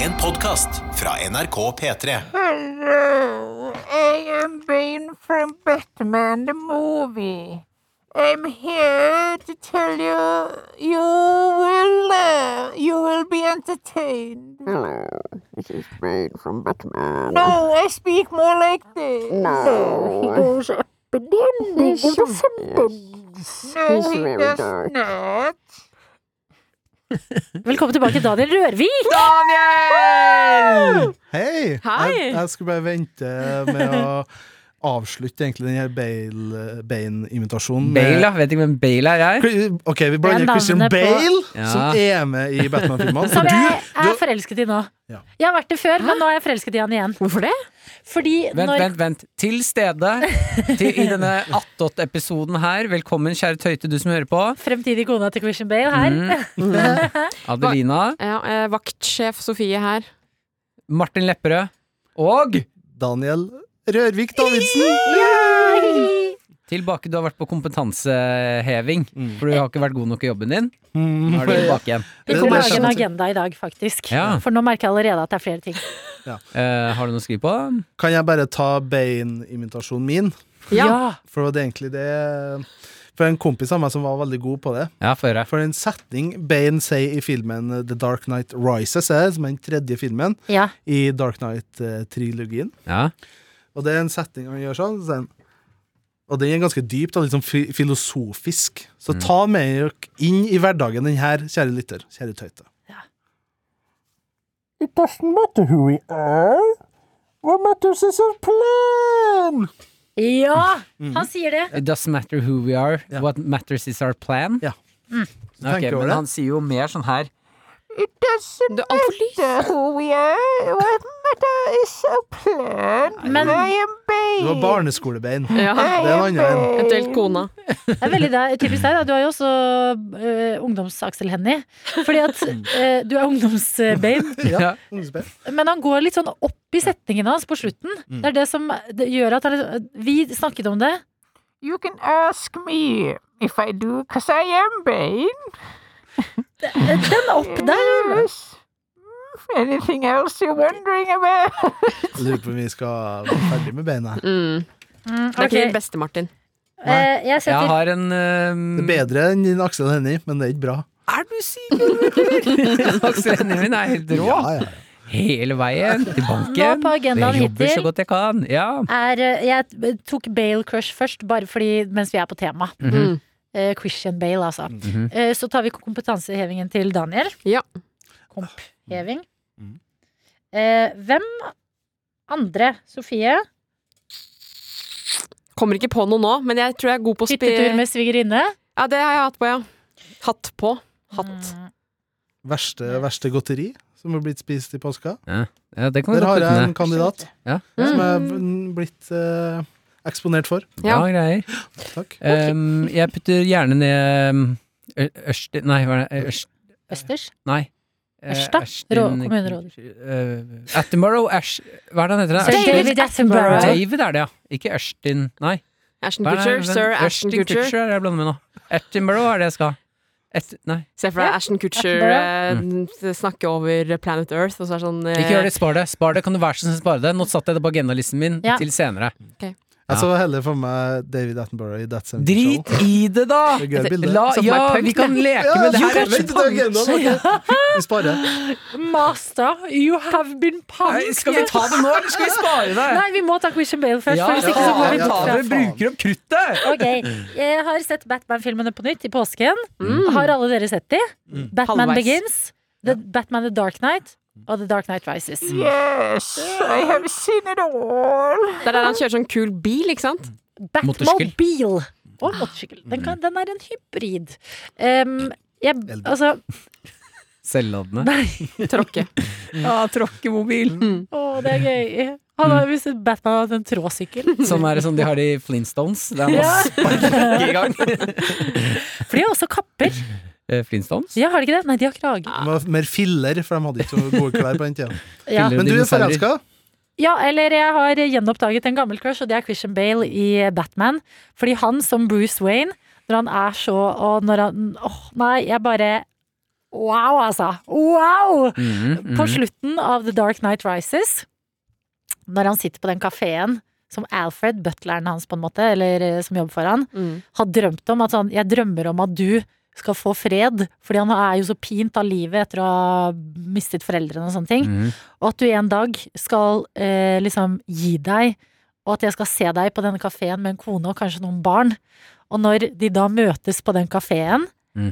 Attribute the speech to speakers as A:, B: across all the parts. A: En podcast fra NRK P3.
B: Hello, I am Bane from Batman the movie. I'm here to tell you you will laugh, you will be entertained.
C: Hello, this is Bane from Batman.
B: No, I speak more like this.
C: No.
D: goes up and down. They
C: He's
D: give a
C: so-
D: sentence.
B: No,
C: He's
B: he
C: very
B: does
C: dark.
B: not.
D: Velkommen tilbake, Daniel Rørvik.
B: Daniel!
E: Hei!
D: Hei!
E: Jeg, jeg skulle bare vente med å avslutte egentlig den her Bale- Bane-imitasjonen.
F: Bale,
E: med-
F: da. Vet ikke hvem Bale er, jeg.
E: Cri- Ok, vi blander
D: Det er
E: Christian
D: navnet på-
E: Bale,
F: Ja.
E: som er med i Batman-filmene.
D: Som
E: For
D: jeg er
E: du, du
D: forelsket i nå.
E: Ja.
D: Jeg har vært det før, men nå er jeg forelsket i han igjen. Hvorfor det? Fordi
F: Vent,
D: når
F: vent, vent. Til stede til, i denne Attåt-episoden her. Velkommen, kjære Tøyte, du som hører på.
D: fremtidig kona til Christian Bale her
F: Adelina.
G: Ja, eh, vaktsjef Sofie her.
F: Martin Lepperød. Og
E: Daniel Rørvik Davidsen!
F: tilbake. Du har vært på kompetanseheving,
E: Mm.
F: for du har ikke vært god nok i jobben din. Nå er du
E: Det-
F: tilbake
D: Vi
F: igjen.
E: det-
D: kommer
E: det
D: til å lage en
E: skjønte-
D: agenda i dag, faktisk.
F: Ja.
D: For nå merker jeg allerede at det er flere ting.
F: Eh, har du noe å skrive på?
E: Kan jeg bare ta Bane-imitasjonen min?
G: Ja.
E: For det var egentlig det For en kompis av meg som var veldig god på det.
F: Ja, få høre.
E: For en setning Bane sier i filmen The Dark Knight Rises, er det, som er den tredje filmen
D: Ja.
E: i Dark Knight-trilogien.
F: Ja.
E: Og det er en setting han gjør sånn. så sier han, og den er ganske dyp, da, litt sånn fi- filosofisk. Så
F: Mm.
E: ta med dere inn i hverdagen den her, kjære lytter, kjære tøyte. It doesn't matter who we are. What matters is our plan.
D: ja! Han sier det.
F: It doesn't matter who we are.
E: Ja.
F: What matters is our plan.
E: Ja. Så
F: Ok,
E: tenker jeg over
F: men
E: det.
F: han sier jo mer sånn her.
B: It doesn't
G: Du er altfor lys.
B: matter who we are. What matter is a plan.
D: Men-
B: I am
E: Du har
B: Bane.
E: barneskolebein.
B: Ah,
G: Ja.
E: Det er en annen en.
G: Eventuelt kona.
D: Det er veldig deg- typisk deg, da. Du er jo også øh, ungdoms-Aksel Hennie. Fordi at øh, du er ungdoms-Bane.
F: Ja.
E: Ungdomsbein.
D: Men han går litt sånn opp i setningen hans på slutten. Det er det som det gjør at han liksom- Vi snakket om det.
B: You can ask me if I do, because I am Bane.
D: Den opp
E: er
D: der!
B: Yes. Mm, Anything else you're wondering about?
E: Lurer på om vi skal være ferdig med beina. her.
G: Mm. Det er
D: Ok,
G: ikke den beste, Martin.
D: eh, jeg
F: Jeg
D: setter
F: har en
E: Det
F: eh,
E: er bedre enn din Aksel Hennie, men det er ikke bra.
F: Er du Simen, eller? Aksel Hennie min er helt rå.
E: Ja, ja.
F: Hele veien til
D: Nå
F: banken.
D: på agendaen
F: Jeg jobber så
D: hittil
F: godt jeg kan. Ja.
D: er eh, Jeg tok Bale Crush først, bare fordi mens vi er på tema.
F: Mm.
G: Mhm.
D: Eh, Christian Bale, altså.
F: Mhm.
D: Eh, så tar vi kompetansehevingen til Daniel.
G: Ja.
D: Kompheving.
F: Mm.
E: Mhm.
D: Eh, hvem andre, Sofie?
G: Kommer ikke på noe nå, men jeg tror jeg er god på å spi...
D: Hyttetur med svigerinne.
G: Ja, det har jeg hatt på, ja. Hatt på. Hatt.
D: Mm.
E: Verste, verste godteri som har blitt spist i påska.
F: ja, det kan vi
E: Der
F: godt
E: har
F: putte
E: jeg en
F: ned.
E: kandidat. som
G: Mm.
E: jeg er v- blitt eh, eksponert for.
F: Bra
G: Ja.
F: greier.
E: Takk.
F: Um, jeg putter gjerne ned um, Ø- Ørsti... Nei, hva er det? Ørst,
D: Østers.
F: nei. Eh,
D: Ørsta?
F: Ørstin-
D: Rå- kommuneråd.
F: Eh, Attenborough Ash... Hva er det han heter? da?
D: Sir
F: Ashton-
D: David Attenborough.
F: David er det, ja. Ikke Ørstin, nei.
G: Ashton
F: Hva er det?
G: Kutcher. Sir
F: Ørstin
G: Ashton Kutcher.
F: er det jeg blander med nå. Attenborough er det jeg skal. Et, nei,
G: Se for deg Ashton Kutcher eh, snakke over Planet Earth, og så er det sånn eh,
F: Mm. ikke gjør det. Spar det. Spar det. Kan du være så snill å spare det? Nå satte jeg det på agendalisten min
D: Ja.
F: til senere.
E: Jeg så heller for meg David Attenborough i That 70
F: Drit
E: Show.
F: i det, da!
E: Det er gøy bilde.
F: La,
G: Satt meg
F: ja,
G: i punk,
F: vi kan leke
E: Ja,
F: med det
E: jo,
F: her.
E: vent, det er agendaen, ok. Vi sparer.
D: Master, you have been
F: Nei, Skal vi ta det nå, eller skal vi spare det?
D: Nei, vi må ta Christian Bale først.
F: Ja,
D: for hvis ikke så må
E: ja,
D: vi
E: ja,
D: ta
E: ja.
D: det.
F: vi bruker opp kruttet!
D: Ok, Jeg har sett Batman-filmene på nytt i påsken. Har alle dere sett de? Batman
G: Halvveis.
D: Begins, The Batman The Dark Knight og The Dark Knight Rises.
B: Mm. Yes, I have seen it all.
G: Det er der han kjører sånn kul bil, ikke sant?
D: Batmobile og motorsykkel. Den, kan, den er en hybrid. Um, jeg,
E: Elbil.
D: altså
F: Selvladende.
D: Nei.
G: Tråkke.
F: Ja, tråkkemobil.
D: Å, det er gøy. Han har visst Batman hadde en tråsykkel.
F: Som er sånn de har i Flintstones. Det er masse spark i gang.
D: For de har også kapper.
F: Eh, Flintstones?
D: Ja, har de ikke det? Nei, de har krage.
E: Det var mer filler, for de hadde ikke så gode klær på den tida.
D: Ja.
E: Men du er forelska.
D: Ja, eller jeg har gjenoppdaget en gammel crush, og det er Christian Bale i Batman. Fordi han som Bruce Wayne, når han er så Og når han Åh, nei, jeg bare Wow, altså. Wow!
F: Mhm,
D: På
F: mhm.
D: slutten av The Dark Night Rises, når han sitter på den kafeen som Alfred, butleren hans, på en måte, eller eh, som jobber for han,
G: Mm.
D: har drømt om at sånn Jeg drømmer om at du skal få fred, fordi han er jo så pint av livet etter å ha mistet foreldrene og sånne ting.
F: Mhm.
D: Og at du en dag skal eh, liksom gi deg, og at jeg skal se deg på denne kafeen med en kone og kanskje noen barn. Og når de da møtes på den kafeen
F: Mm.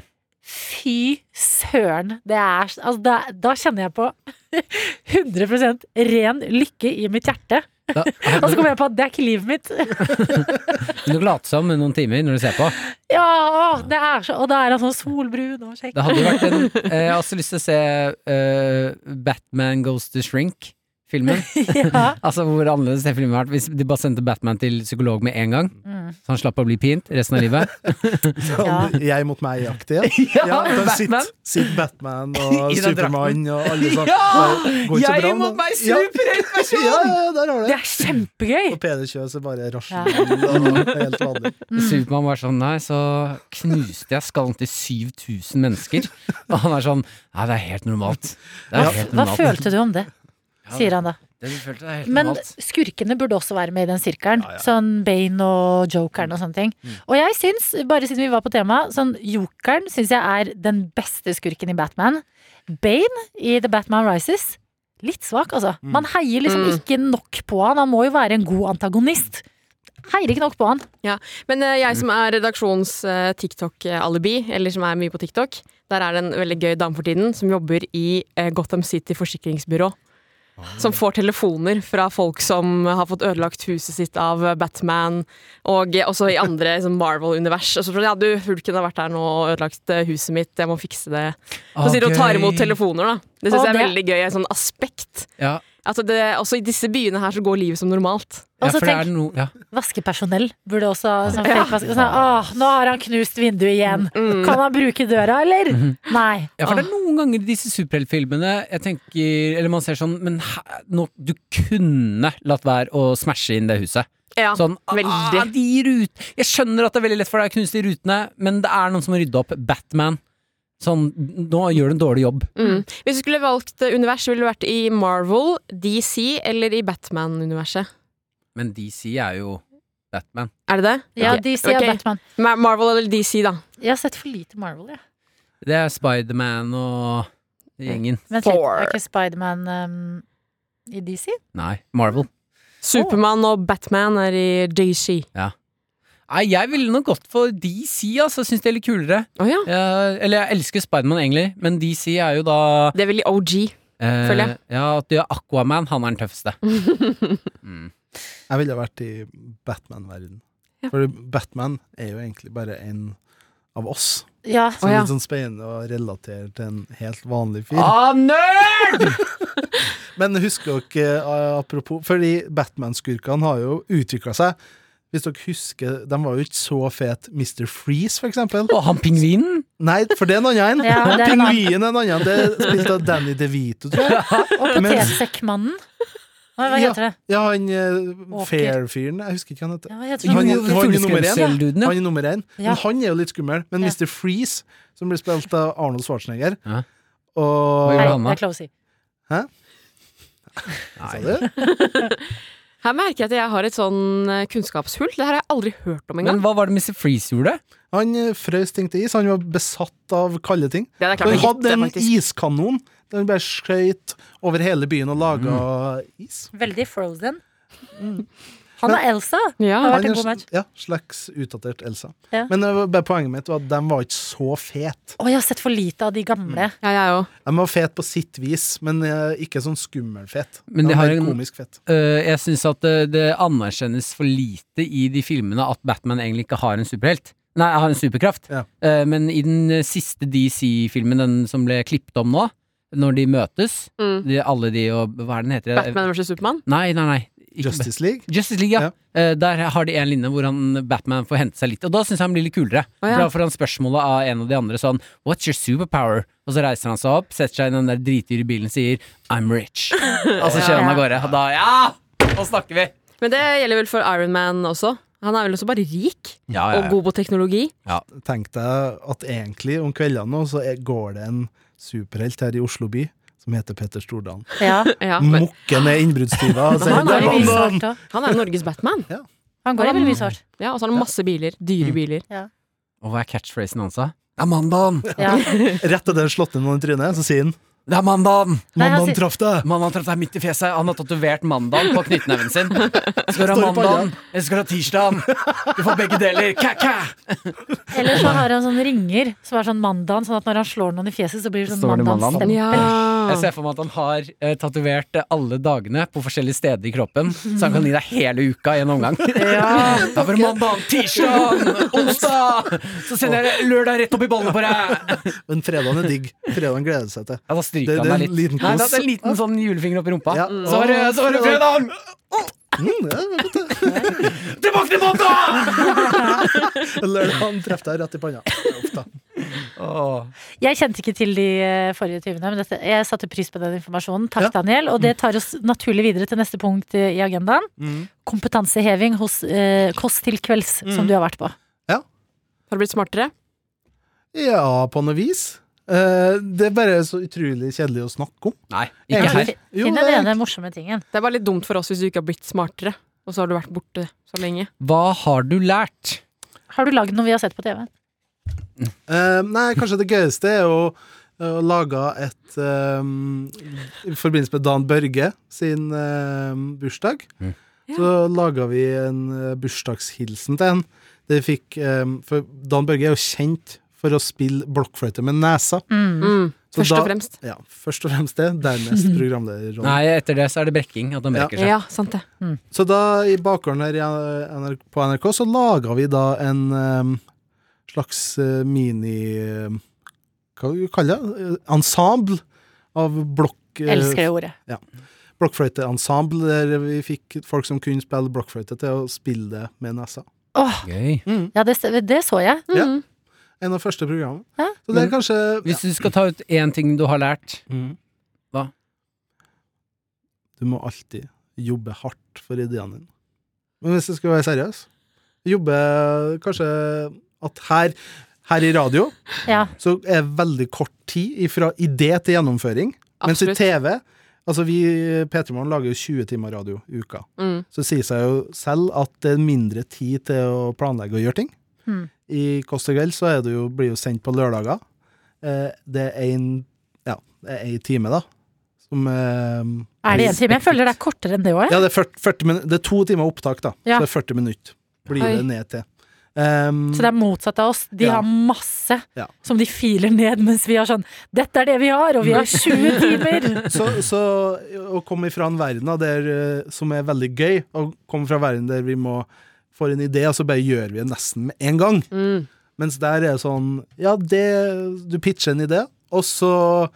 D: Fy søren! Det er altså, da, da kjenner jeg på 100 ren lykke i mitt hjerte.
F: Da-
D: Og så kommer jeg på at det er ikke livet mitt.
F: Du kan late som noen timer når du ser på.
D: Ja, å, det er så, Og da er han sånn solbrun og kjekk.
F: Det hadde jo vært en eh, Jeg har også lyst til å se eh, Batman Goes to Shrink-filmen.
D: Ja.
F: Altså Hvor annerledes den filmen hadde vært hvis de bare sendte Batman til psykolog med en gang.
D: Mm.
F: Så han slapp å bli pint resten av livet.
D: Ja.
E: Jeg mot meg-aktig.
F: Ja,
E: da
F: Batman.
E: Sitt, sitt Batman og
F: I den
E: Supermann og alle sånn.
F: Ja!
E: Det går ikke så bra, men-
F: superheltversjon!
E: Ja, ja, der har du
D: Det
E: det.
D: er kjempegøy!
E: Og Peder Kjøs er bare rasjonell
D: Ja.
E: og helt vanlig.
D: Mm.
F: Supermann var sånn Nei, så knuste jeg skallen til 7000 mennesker. Og han er sånn Nei, det er helt normalt. Det er helt
D: Hva
F: normalt.
D: følte du om det? Sier han da.
F: Det du følte, er helt
D: Men
F: normalt.
D: skurkene burde også være med i den sirkelen. Sånn Bane og Jokeren og sånne ting. Og jeg syns, bare siden vi var på tema, sånn Jokeren syns jeg er den beste skurken i Batman. Bane i The Batman Rises litt svak, altså. Man heier liksom
G: Mm.
D: ikke nok på han. Han må jo være en god antagonist. Heier ikke nok på han.
G: Men eh, jeg som er redaksjons eh, TikTok-alibi, eller som er mye på TikTok, der er det en veldig gøy dame for tiden som jobber i eh, Gotham City forsikringsbyrå. Som får telefoner fra folk som har fått ødelagt huset sitt av eh, Batman, og eh, også i andre liksom, Marvel-univers. Og så tror de, ja, du, Hulken har vært her nå og ødelagt eh, huset mitt, jeg må fikse det.
F: Ah,
G: Så sitter hun og tar imot telefoner, da. Det
D: Å,
G: syns jeg er
D: det-
G: veldig gøy, et sånn aspekt.
F: Ja,
G: Altså, det, også i disse byene her så går livet som normalt.
D: Og
F: ja,
D: så
F: for
D: Altså,
F: det
D: tenk-
F: er noe ja.
D: Vaskepersonell burde også sånn, fake-vaske- sånn, Åh, nå har han knust vinduet igjen. Kan han bruke døra, eller? Nei.
F: Ja, for
D: Åh.
F: det er noen ganger i disse superheltfilmene jeg tenker Eller man ser sånn Men hæ, nå, du kunne latt være å smashe inn det huset.
G: Ja,
F: Sånn, ah,
G: veldig.
F: de rut Jeg skjønner at det er veldig lett for deg å knuse de rutene, men det er noen som må rydde opp. Batman. Sånn, nå gjør du en dårlig jobb.
G: Mm. Hvis du skulle valgt eh, univers, ville du vært i Marvel, DC eller i Batman-universet?
F: Men DC er jo Batman.
G: Er det det?
D: Ja,
G: Ok.
D: de sier
G: Ok.
D: Batman.
G: Ma- Marvel eller DC, da.
D: Jeg har sett for lite Marvel, jeg.
F: Det er Spiderman og gjengen.
D: Vent litt,
G: Thor.
D: er ikke Spiderman um, i DC?
F: Nei, Marvel.
G: Supermann og Batman er i DC.
F: Nei, jeg ville nok gått for DC, altså. Syns det er litt kulere.
G: Å ja.
F: Jeg, eller jeg elsker Spiderman egentlig, men DC er jo da
G: Det er vel i OG.
F: eh,
G: Følger jeg.
F: Ja, at du er Aquaman, han er den tøffeste. mm.
E: Jeg ville vært i Batman-verden.
G: Ja.
E: For Batman er jo egentlig bare en av oss.
D: Ja.
E: Så
G: Å, ja.
E: litt sånn spennende å relatere til en helt vanlig fyr.
F: Ah, nerd!
E: Men husk dere, eh, apropos Fordi Batman-skurkene har jo utvikla seg. Hvis dere husker, de var jo ikke så fet Mr. Freeze, for eksempel.
F: Og han pingvinen!
E: Nei, for det er en annen.
D: Ja, det er en annen.
E: Pingvinen er en annen. Det er spilt av Danny DeVito, tror jeg.
D: Og
E: Men-
D: Potetsekkmannen. Hva, hva heter det?
E: Ja, han eh,
D: Åker.
E: fair-fyren. Jeg husker ikke hva han heter.
D: Ja, hva heter det?
E: Han, er- han er nummer én.
F: Fugleskremselduden,
E: Han er nummer én.
D: Ja.
E: Men han er jo litt skummel. Men
D: Ja.
E: Mr. Freeze, som blir spilt av Arnold Schwarzenegger
F: Ja.
E: Og
F: Hva
D: Nei,
F: gjør han
D: det
F: da?
D: er Closey.
E: Sa du?
G: Her merker jeg at jeg har et sånn eh, kunnskapshull. Det her har jeg aldri hørt om
F: Men
G: engang.
F: hva var det Mr. Freeze gjorde?
E: Han eh, frøs ting til is. Han var besatt av kalde ting.
G: Det er klart
E: Han
G: jeg ikke
E: hadde
G: det,
E: en
G: faktisk.
E: iskanon der han bare skøyt over hele byen og laga
F: Mm.
E: is.
D: Veldig frozen.
E: Mm.
D: Han er Elsa!
G: Ja.
D: Det har
E: Han
D: vært en
E: er
D: god match.
E: sl- ja, slags utdatert Elsa.
D: Ja.
E: Men det var bare poenget mitt var at de var ikke så fete.
D: Å, jeg har sett for lite av de gamle.
E: Mm.
G: Ja, jeg òg.
E: De var fete på sitt vis, men eh, ikke sånn skummelfet.
F: Men de
E: de
F: har
E: var
F: en-
E: komisk fett.
F: Øh, jeg syns at det, det anerkjennes for lite i de filmene at Batman egentlig ikke har en superhelt. Nei, har en superkraft.
E: Ja.
F: Øh, men i den øh, siste DC-filmen, den som ble klippet om nå, når de møtes,
G: Mm.
F: de, alle de og Hva er den heter?
G: Batman versus Supermann.
F: Nei, nei, nei. ikke
E: Justice League.
F: Bat- Justice League, ja. Øh, der har de en linje hvor han, Batman får hente seg litt. Og da syns jeg han blir litt kulere.
G: Å, ja.
F: For Da får han spørsmålet av en av de andre sånn What's your superpower? Og så reiser han seg opp, setter seg i den der dritdyre bilen og sier I'm rich. Og så kjører han av gårde. Og da ja! Nå snakker vi!
G: Men det gjelder vel for Iron Man også. Han er vel også bare rik
F: Ja, ja,
G: og
F: ja.
G: god på teknologi.
E: Tenk deg at egentlig om kveldene nå så er- går det en superhelt her i Oslo by som heter Petter Stordalen.
D: Ja,
G: Ja, men
E: Mokken er innbruddstyver og sier
G: Han
D: han går
E: det
G: er
D: i
E: er
D: mye
E: London!
D: svart òg.
G: han er Norges Batman.
D: Han går i veldig mye svart.
G: Ja, Og så har han masse biler.
F: Mm.
G: Dyre biler.
F: Og hva er catchphrasen hans, da? Det er mandagen!
D: Ja.
E: Rett etter han slått inn noen i trynet, så sier han
F: Det er mandagen!
D: Nei, altså, han
E: Mandagen
D: sier-
E: traff deg!
F: Mannen har traff deg midt i fjeset. Han har tatovert mandagen på knyttneven sin. Skal du ha
E: Står det på
F: mandagen, eller skal du ha tirsdagen? Du får begge deler. Kæ-kæ!
D: Eller så har han sånne ringer som er sånn mandagen, sånn at når han slår noen i fjeset, så blir det sånn
F: Står det
D: mandagen.
F: mandagen?
D: stempel.
F: Jeg ser for meg at han har eh, tatovert eh, alle dagene på forskjellige steder i kroppen, så han kan gi deg hele uka i en omgang. Det er bare mandag, tirsdag, onsdag! Så sender jeg lørdag rett opp i ballene på deg!
E: Men fredagen er digg. Fredagen gleder seg til.
F: Ja, da
E: Det-
F: stryker
E: det er
F: han deg
E: en
F: litt.
E: liten
F: Nei, da
E: kos.
F: er det en liten sånn julefinger opp i rumpa.
E: Ja.
F: Så var det, så var det fredag!
E: Mm, ja, vet du.
F: Tilbake til mandag!
E: Lørdagen traff deg rett i panna. Uff da.
F: Åh.
D: Jeg kjente ikke til de eh, forrige tyvene, men dette, jeg satte pris på den informasjonen. Takk,
E: Ja. Mm.
D: Daniel. Og det tar oss naturlig videre til neste punkt eh, i agendaen. Kompetanseheving hos eh, Kåss til kvelds,
E: Mm.
D: som du har vært på.
G: Har du blitt smartere?
E: Ja, på noe vis. Eh, det er bare så utrolig kjedelig å snakke om.
F: Nei, ikke
E: Egentlig.
F: her.
E: Jo,
D: Finn
E: det
D: den
E: er-
D: ene morsomme tingen.
G: Det er bare litt dumt for oss hvis du ikke har blitt smartere, og så har du vært borte så lenge.
F: Hva har du lært?
D: Har du lagd noe vi har sett på TV?
E: Eh, nei, kanskje det gøyeste er å, å lage et eh, I forbindelse med Dan Børge sin eh, bursdag,
F: Mm.
E: så laga vi en eh, bursdagshilsen til en. Det vi fikk, eh, for Dan Børge er jo kjent for å spille blokkfløyte med nesa.
G: Mm.
E: Så
G: Først
E: da-
G: og fremst.
E: Ja, først og fremst det, dernest programlederrollen.
F: Nei, etter det så er det brekking. At han
E: Ja.
F: brekker seg.
G: Ja, sant det.
E: Så da, i bakgården her i NRK, på NRK, så laga vi da en eh, slags eh, mini eh, Hva skal vi kalle det? Eh, ensemble av blokk... eh,
D: Elsker det ordet.
E: Blokkfløyteensemble, der vi fikk folk som kunne spille blokkfløyte, til å spille det med nesa.
D: Åh,
F: Gøy.
G: Mm.
D: ja, det, det så jeg.
E: Ja.
G: Mhm.
E: En av første programmene.
D: Hæ?
E: Så det
F: Men
E: er kanskje ja.
F: Hvis du skal ta ut én ting du har lært
E: Mhm.
F: Hva?
E: Du må alltid jobbe hardt for ideene dine. Men hvis jeg skal være seriøs Jobbe kanskje at her, her i radio
D: Mm. Ja.
E: så er veldig kort tid fra idé til gjennomføring. Mens i
G: Absolutt.
E: TV Altså, vi P3morgen lager jo 20 timer radio i uka.
G: Mm.
E: Så det sier seg jo selv at det er mindre tid til å planlegge og gjøre ting.
D: Mm.
E: I Kåss til kveld så er det jo, blir jo sendt på lørdager. Eh, det er en ja, det er en time, da. Som eh,
D: Er det én time? Jeg føler det er kortere enn det òg.
E: Ja, det er, 40, 40 min, det er to timer opptak, da.
D: Ja.
E: Så det er 40 minutter. Blir
G: Oi.
E: det ned til. Ehm, Em,
D: Så det er motsatt av oss. De
E: Ja.
D: har masse
E: Ja.
D: som de filer ned, mens vi har sånn Dette er det vi har, og vi har
E: Mm.
D: 20 timer!
E: så, så å komme fra en verden da, der, eh, som er veldig gøy, å komme fra en verden der vi må får en idé, og så bare gjør vi det nesten med en gang.
G: Mm.
E: Mens der er det sånn Ja, det, du pitcher en idé, og så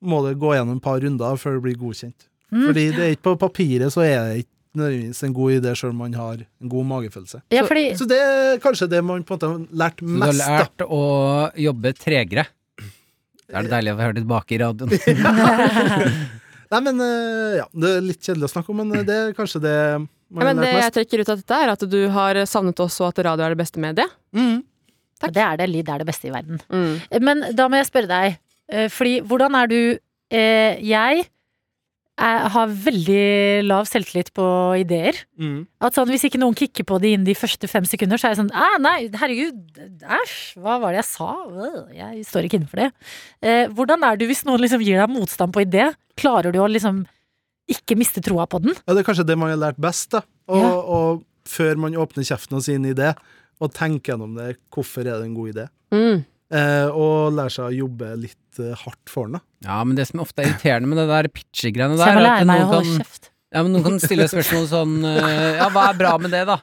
E: må det gå gjennom et par runder før det blir godkjent.
G: Mm.
E: Fordi det er ikke på papiret, så er det ikke nødvendigvis en god idé, sjøl om man har en god magefølelse.
D: Ja, fordi
E: Så det er kanskje det man på en måte har lært
F: Du har
E: mest, da.
F: lært å jobbe tregere. Da er det deilig å høre det tilbake i radioen.
E: Nei, men eh, ja, det er litt kjedelig å snakke om, men eh, det er kanskje det man
G: Ja,
E: har
G: men det
E: lært
G: jeg
E: mest.
G: trekker ut av dette, er at du har savnet oss, og at radio er det beste mediet.
E: Mm.
D: det er det. Lyd er det beste i verden.
G: Mm.
D: Men da må jeg spørre deg, eh, fordi hvordan er du eh, Jeg er, har veldig lav selvtillit på ideer.
E: Mm.
D: At sånn, Hvis ikke noen kicker på det innen de første fem sekunder, så er jeg sånn «Æ, Nei, herregud, æsj, hva var det jeg sa? Øh, Jeg står ikke innenfor det. Eh, hvordan er du hvis noen liksom gir deg motstand på idé? Klarer du å liksom ikke miste troa på den?
E: Ja, det er kanskje det man har lært best, da. Og,
D: Ja.
E: og før man åpner kjeften og sier en idé, og tenker gjennom det, hvorfor er det en god idé?
G: Mm.
E: Eh, og lære seg å jobbe litt eh, hardt for den. da.
F: Ja, men det som ofte er irriterende med det der pitchegreiene
D: Så
F: der,
D: jeg må
F: er at
D: lære meg å
F: noen
D: holde
F: kan,
D: kjeft.
F: ja, men noen kan stille spørsmål sånn eh, Ja, hva er bra med det, da?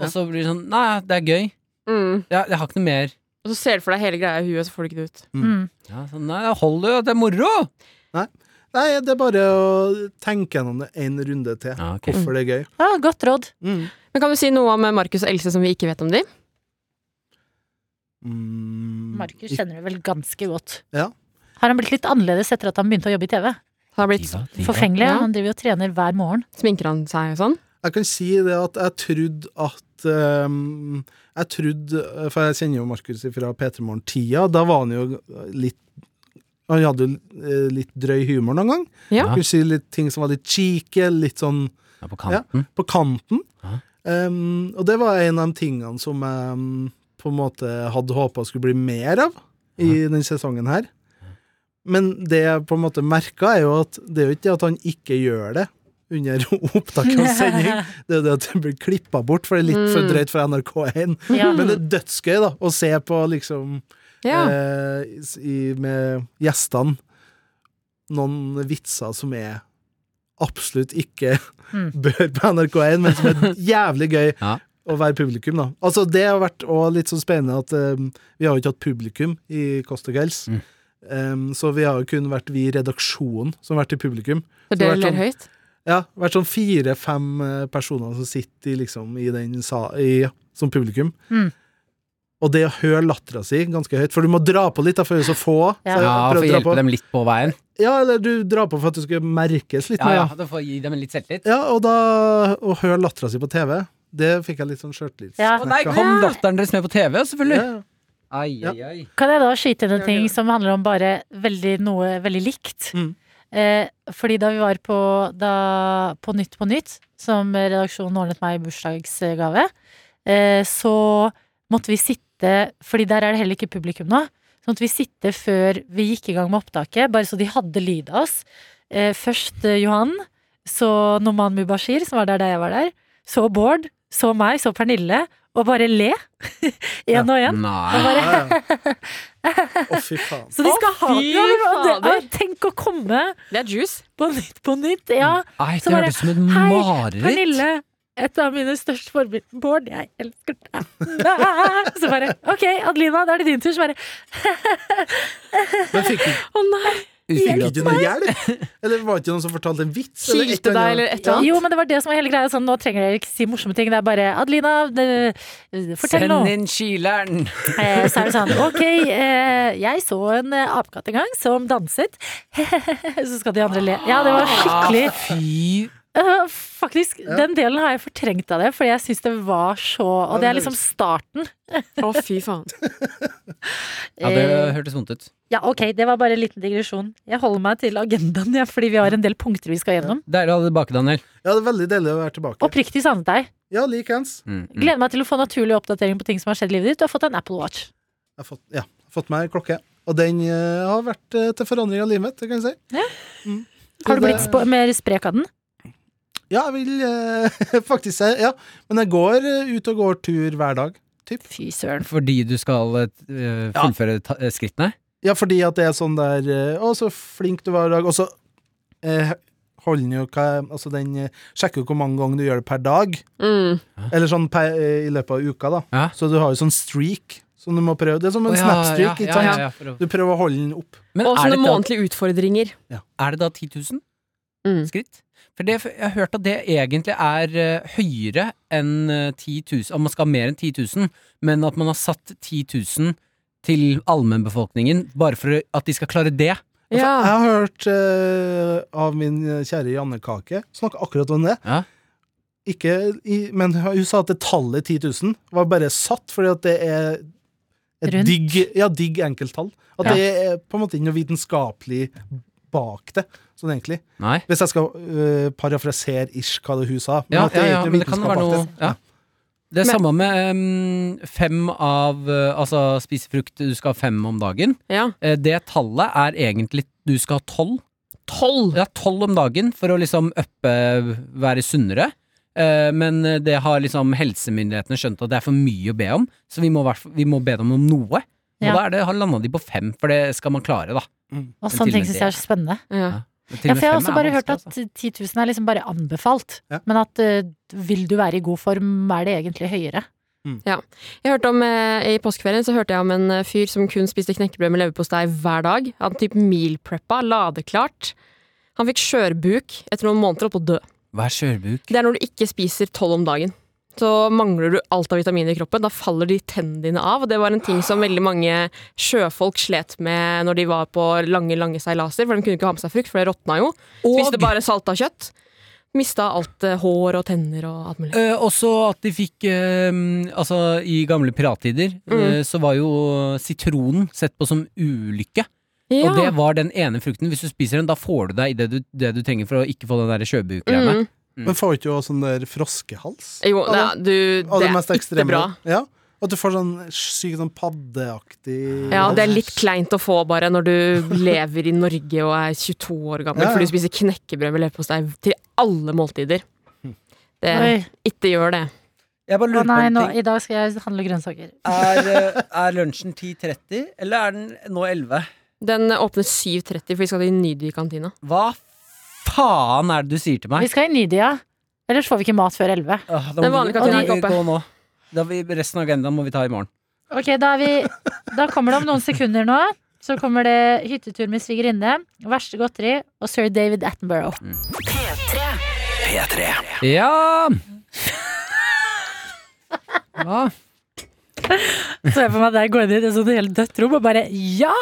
F: Og så blir det sånn Nei, det er gøy.
G: Mm.
F: Ja, jeg har ikke noe mer.
G: Og så ser du for deg hele greia i huet, så får du ikke det ut.
D: Mm.
F: Ja, sånn, Nei, hold det, det er moro!
E: Nei, det er bare å tenke gjennom det en runde til.
F: Ja, ok.
E: Hvorfor det er gøy.
D: Ja, godt råd.
E: Mm.
G: Men kan du si noe om eh, Markus og Else som vi ikke vet om de?
E: Mm.
D: Markus kjenner du vel ganske godt.
E: Ja.
D: Har han blitt litt annerledes etter at han begynte å jobbe i TV?
G: Har blitt
F: Diva, diva.
D: Forfengelig.
G: Ja.
D: Han driver jo og trener hver morgen.
G: Sminker han seg og sånn?
E: Jeg kan si det at jeg trodde at ehm, Jeg trodde For jeg kjenner jo Markus fra P3 Morgen-tida. Da var han jo litt Han hadde jo eh, litt drøy humor noen gang.
G: Ja.
E: Kunne si litt ting som var litt cheeky, litt sånn
F: Ja, på kanten.
E: på kanten.
F: Ja.
E: Um, og det var en av de tingene som jeg um, på en måte hadde håpa skulle bli mer av i denne sesongen her. Men det jeg på en måte merka, er jo at det er jo ikke det at han ikke gjør det under opptaket av sending, det er jo det at det blir klippa bort, for det er litt for drøyt fra NRK1.
D: Ja.
E: Men det er dødsgøy da, å se på liksom
G: Ja.
E: eh, s- i, med gjestene noen vitser som er absolutt ikke bør på NRK1, men som er jævlig gøy
F: Ja.
E: å være publikum, da. Altså, det har vært også litt sånn spennende at eh, vi har jo ikke hatt publikum i Kåss til kvelds.
F: Mm.
E: Em, så vi har jo kun vært vi i redaksjonen som har vært i publikum.
G: For
E: det
G: dere
E: var
G: ler
E: sånn-
G: høyt?
E: Ja, vært sånn fire-fem eh, personer som sitter i, liksom, i den sa i, som publikum.
D: Mm.
E: Og det å høre lattera si ganske høyt, for du må dra på litt, da, for det er så få.
D: Ja.
E: Så jeg
F: Ja,
E: prøvde å
F: for å
E: dra på.
F: hjelpe dem litt på veien.
E: Ja, eller du drar på for at du skal merkes litt.
F: Ja,
E: mer,
F: ja,
E: ja.
F: det får gi dem litt selvtillit.
E: Ja, og da å høre lattera si på TV, det fikk jeg litt sånn sjøltillit.
D: Ja.
F: Å nei, kom datteren deres med på TV, selvfølgelig!
E: Ja.
F: Ai,
E: Ja.
F: ai, ai.
D: Kan jeg da skyte inn en ting
G: gjør det.
D: som handler om bare veldig, noe veldig likt?
E: Mm.
D: Eh, fordi da vi var på, da, på Nytt på Nytt, som redaksjonen ordnet meg i bursdagsgave, eh, så måtte vi sitte Fordi der er det heller ikke publikum nå. Så måtte vi sitte før vi gikk i gang med opptaket, bare så de hadde lyd av oss. Eh, først eh, Johan, så Noman Mubashir, som var der da jeg var der. Så Bård, så meg, så Pernille. Og bare le. Én og én.
F: Nei.
E: Ja, ja. Å, fy faen.
D: Så de
G: Å,
D: skal ha
G: fy
D: ja, men det-
G: fader.
D: ja, Tenk å komme
G: Det er juice.
D: på nytt på nytt. Ja,
F: Mm. Nei,
D: Så
F: det
D: bare,
F: hørtes ut som et
D: hei,
F: mareritt.
D: Pernille. Et av mine største forbilder. Bård, jeg elsker deg. Nei. Så bare OK, Adelina, da er det din tur. Så bare
E: Men fikk du
G: Å nei!
E: fikk
F: Utviklet-
E: ikke noe hjelp? Eller var det ikke noen som fortalte en vits? eller et
G: Kilte deg,
E: annet?
G: eller et eller annet?
D: Jo, men det var det som var hele greia. Sånn, nå trenger dere ikke si morsomme ting. Det er bare Adelina, det, fortell
F: Send
D: nå.
F: inn kileren!
D: Eh, Så er det sånn OK, eh, jeg så en eh, apekatt en gang som danset. Så skal de andre le. Ja, det var skikkelig
F: Fy
D: Øh, faktisk, den delen har jeg fortrengt av det, fordi jeg syns det var så Og det er liksom starten.
G: Å, fy faen.
F: Ja, det
D: Eh,
F: hørtes vondt ut.
D: ja, ok, det var bare en liten digresjon. Jeg holder meg til agendaen, ja, fordi vi har en del punkter vi skal gjennom.
F: Deilig å ha deg tilbake, Daniel.
E: Ja, det er veldig deilig å være tilbake.
D: Oppriktig savnet deg.
E: Ja, likeens.
F: Mm, mm.
D: Gleder meg til å få naturlig oppdatering på ting som har skjedd i livet ditt. Du har fått en Apple Watch.
E: Jeg har fått, ja, fått meg klokke. Og den eh, har vært eh, til forandring av livet mitt, det kan jeg si.
D: Ja.
E: Mm.
D: Har du
E: Så
D: blitt
E: det-
D: sp- mer sprek av den?
E: Ja, jeg vil eh, faktisk si ja. Men jeg går eh, ut og går tur hver dag. Typ.
D: Fy søren.
F: Fordi du skal eh, fullføre ta eh, skrittene?
E: Ja, fordi at det er sånn der eh, Å, så flink du var i dag. Og så eh, holder den jo hva Altså, den eh, sjekker jo hvor mange ganger du gjør det per dag.
G: Mm.
E: Eller sånn per, eh, i løpet av uka, da.
F: Ja.
E: Så du har jo sånn streak som du må prøve. Det er som en
F: Å, ja,
E: snap-streak.
F: ja,
E: ikke sant?
F: ja, ja, for å-
E: Du prøver å holde den opp.
F: Men
G: Og
F: er
G: sånne
F: det, da,
G: månedlige utfordringer.
F: er det da 10 000
G: Mm.
F: skritt? For det, jeg har hørt at det egentlig er eh, høyere enn eh, 10 000, at man skal ha mer enn 10 000, men at man har satt 10 000 til allmennbefolkningen bare for at de skal klare det.
E: Jeg
G: Ja.
E: har hørt eh, av min kjære Janne Kake snakke akkurat om det.
F: Ja.
E: Ikke i, men hun sa at det tallet 10 000 var bare satt fordi at det er et
D: Rundt.
E: digg, ja, digg enkelttall. At
F: Ja.
E: det er på en måte ikke noe vitenskapelig bak det, sånn egentlig.
F: Nei?
E: Hvis jeg skal øh, parafrasere ish hva det hun sa. Men
F: Ja,
E: at det
F: ja,
E: er
F: ja,
E: ikke noe
F: men det kan
E: vitenskap
F: være
E: bak
F: noe
E: det.
F: ja. Det er samme med em, fem av eh, Altså spise frukt, du skal ha fem om dagen.
G: ja.
F: Eh, det tallet er egentlig du skal ha tolv.
G: Tolv!
F: Ja, tolv om dagen for å liksom uppe, være sunnere. Eh, Men det har liksom helsemyndighetene skjønt at det er for mye å be om, så vi må, hvert fall- vi må be dem om noe. Og
D: Ja.
F: da er det, har landa de på fem, for det skal man klare, da.
D: Og
F: Men
D: sånne
F: til og
D: ting
F: med
D: syns
F: det.
D: jeg er så spennende.
G: Ja.
F: Men til
D: Ja,
F: og med
D: for jeg har
F: fem
D: også
F: er
D: bare hørt at
F: vanskelig, altså.
D: 10 000 er liksom bare anbefalt.
E: Ja.
D: Men at eh, vil du være i god form, er det egentlig høyere.
G: Jeg hørte om, eh, I påskeferien så hørte jeg om en eh, fyr som kun spiste knekkebrød med leverpostei hver dag. Han typ meal preppa, ladeklart. Han fikk skjørbuk etter noen måneder og holdt på å dø.
F: Hva er skjørbuk?
G: Det er når du ikke spiser tolv om dagen. Så mangler du alt av vitaminer i kroppen. Da faller de tennene dine av. Og det var en ting som veldig mange sjøfolk slet med når de var på lange lange seilaser. For de kunne ikke ha med seg frukt, for det råtna jo. Spiste bare salta kjøtt. Mista alt eh, hår og tenner og alt mulig.
F: Eh, også at de fikk eh, Altså, i gamle pirattider eh, så var jo sitronen sett på som ulykke.
G: Ja.
F: Og det var den ene frukten. Hvis du spiser den, da får du deg det du, det du trenger for å ikke få den der sjøbukgreiene.
G: Mm.
E: Men får ikke du også sånn der froskehals?
G: Jo, det,
E: Av
G: er- du,
E: av
G: det er ikke
E: ekstreme.
G: bra.
E: Ja. At du får sånn syk sånn paddeaktig
G: Ja,
E: hals.
G: det er litt kleint å få bare når du lever i Norge og er 22 år gammel,
E: Ja, ja.
G: for du spiser knekkebrød med leverpostei til alle måltider. Det,
D: Oi.
G: ikke gjør det.
F: Jeg bare
D: Å
F: lurer på
D: nei,
F: en
D: nå,
F: ting.
D: i dag skal jeg handle grønnsaker.
F: Er, eh, er lunsjen 10.30, eller er den nå 11?
G: Den åpner 7.30, for vi skal til Nydy-kantina.
F: Hva faen er det du sier til meg?
D: Vi skal i Nydia. Ellers får vi ikke mat før elleve.
F: Åh, da
G: Den
F: må du-
G: vanlige
F: da
G: kantina
F: må
G: er ikke
F: vi gå nå. Da vi, resten av agendaen må vi ta i morgen.
D: Ok, da, er vi, da kommer det om noen sekunder nå. Så kommer det hyttetur med svigerinne, verste godteri og sir David Attenborough.
F: Ja! Hva?
D: Så jeg for meg der går inn i et sånt helt dødt rom og bare ja!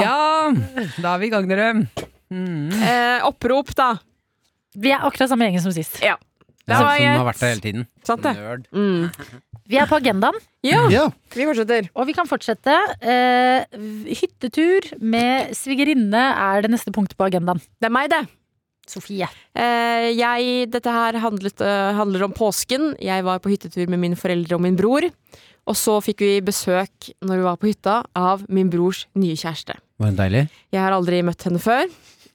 F: Ja! Da er vi i gang, dere. Mm.
G: Eh, opprop, da!
D: Vi er akkurat samme gjengen som sist.
G: Det var
F: som har
G: greit.
F: vært der hele tiden.
G: Sant det?
F: Nerd.
G: Mm.
D: Vi er på agendaen,
G: Ja,
E: Ja.
G: vi fortsetter.
D: og vi kan fortsette. Eh, hyttetur med svigerinne er det neste punktet på agendaen.
G: Det er meg, det.
D: Sofie.
G: Eh, jeg, dette her handlet, eh, handler om påsken. Jeg var på hyttetur med mine foreldre og min bror. Og så fikk vi besøk når vi var på hytta av min brors nye kjæreste.
F: Var den deilig?
G: Jeg har aldri møtt henne før.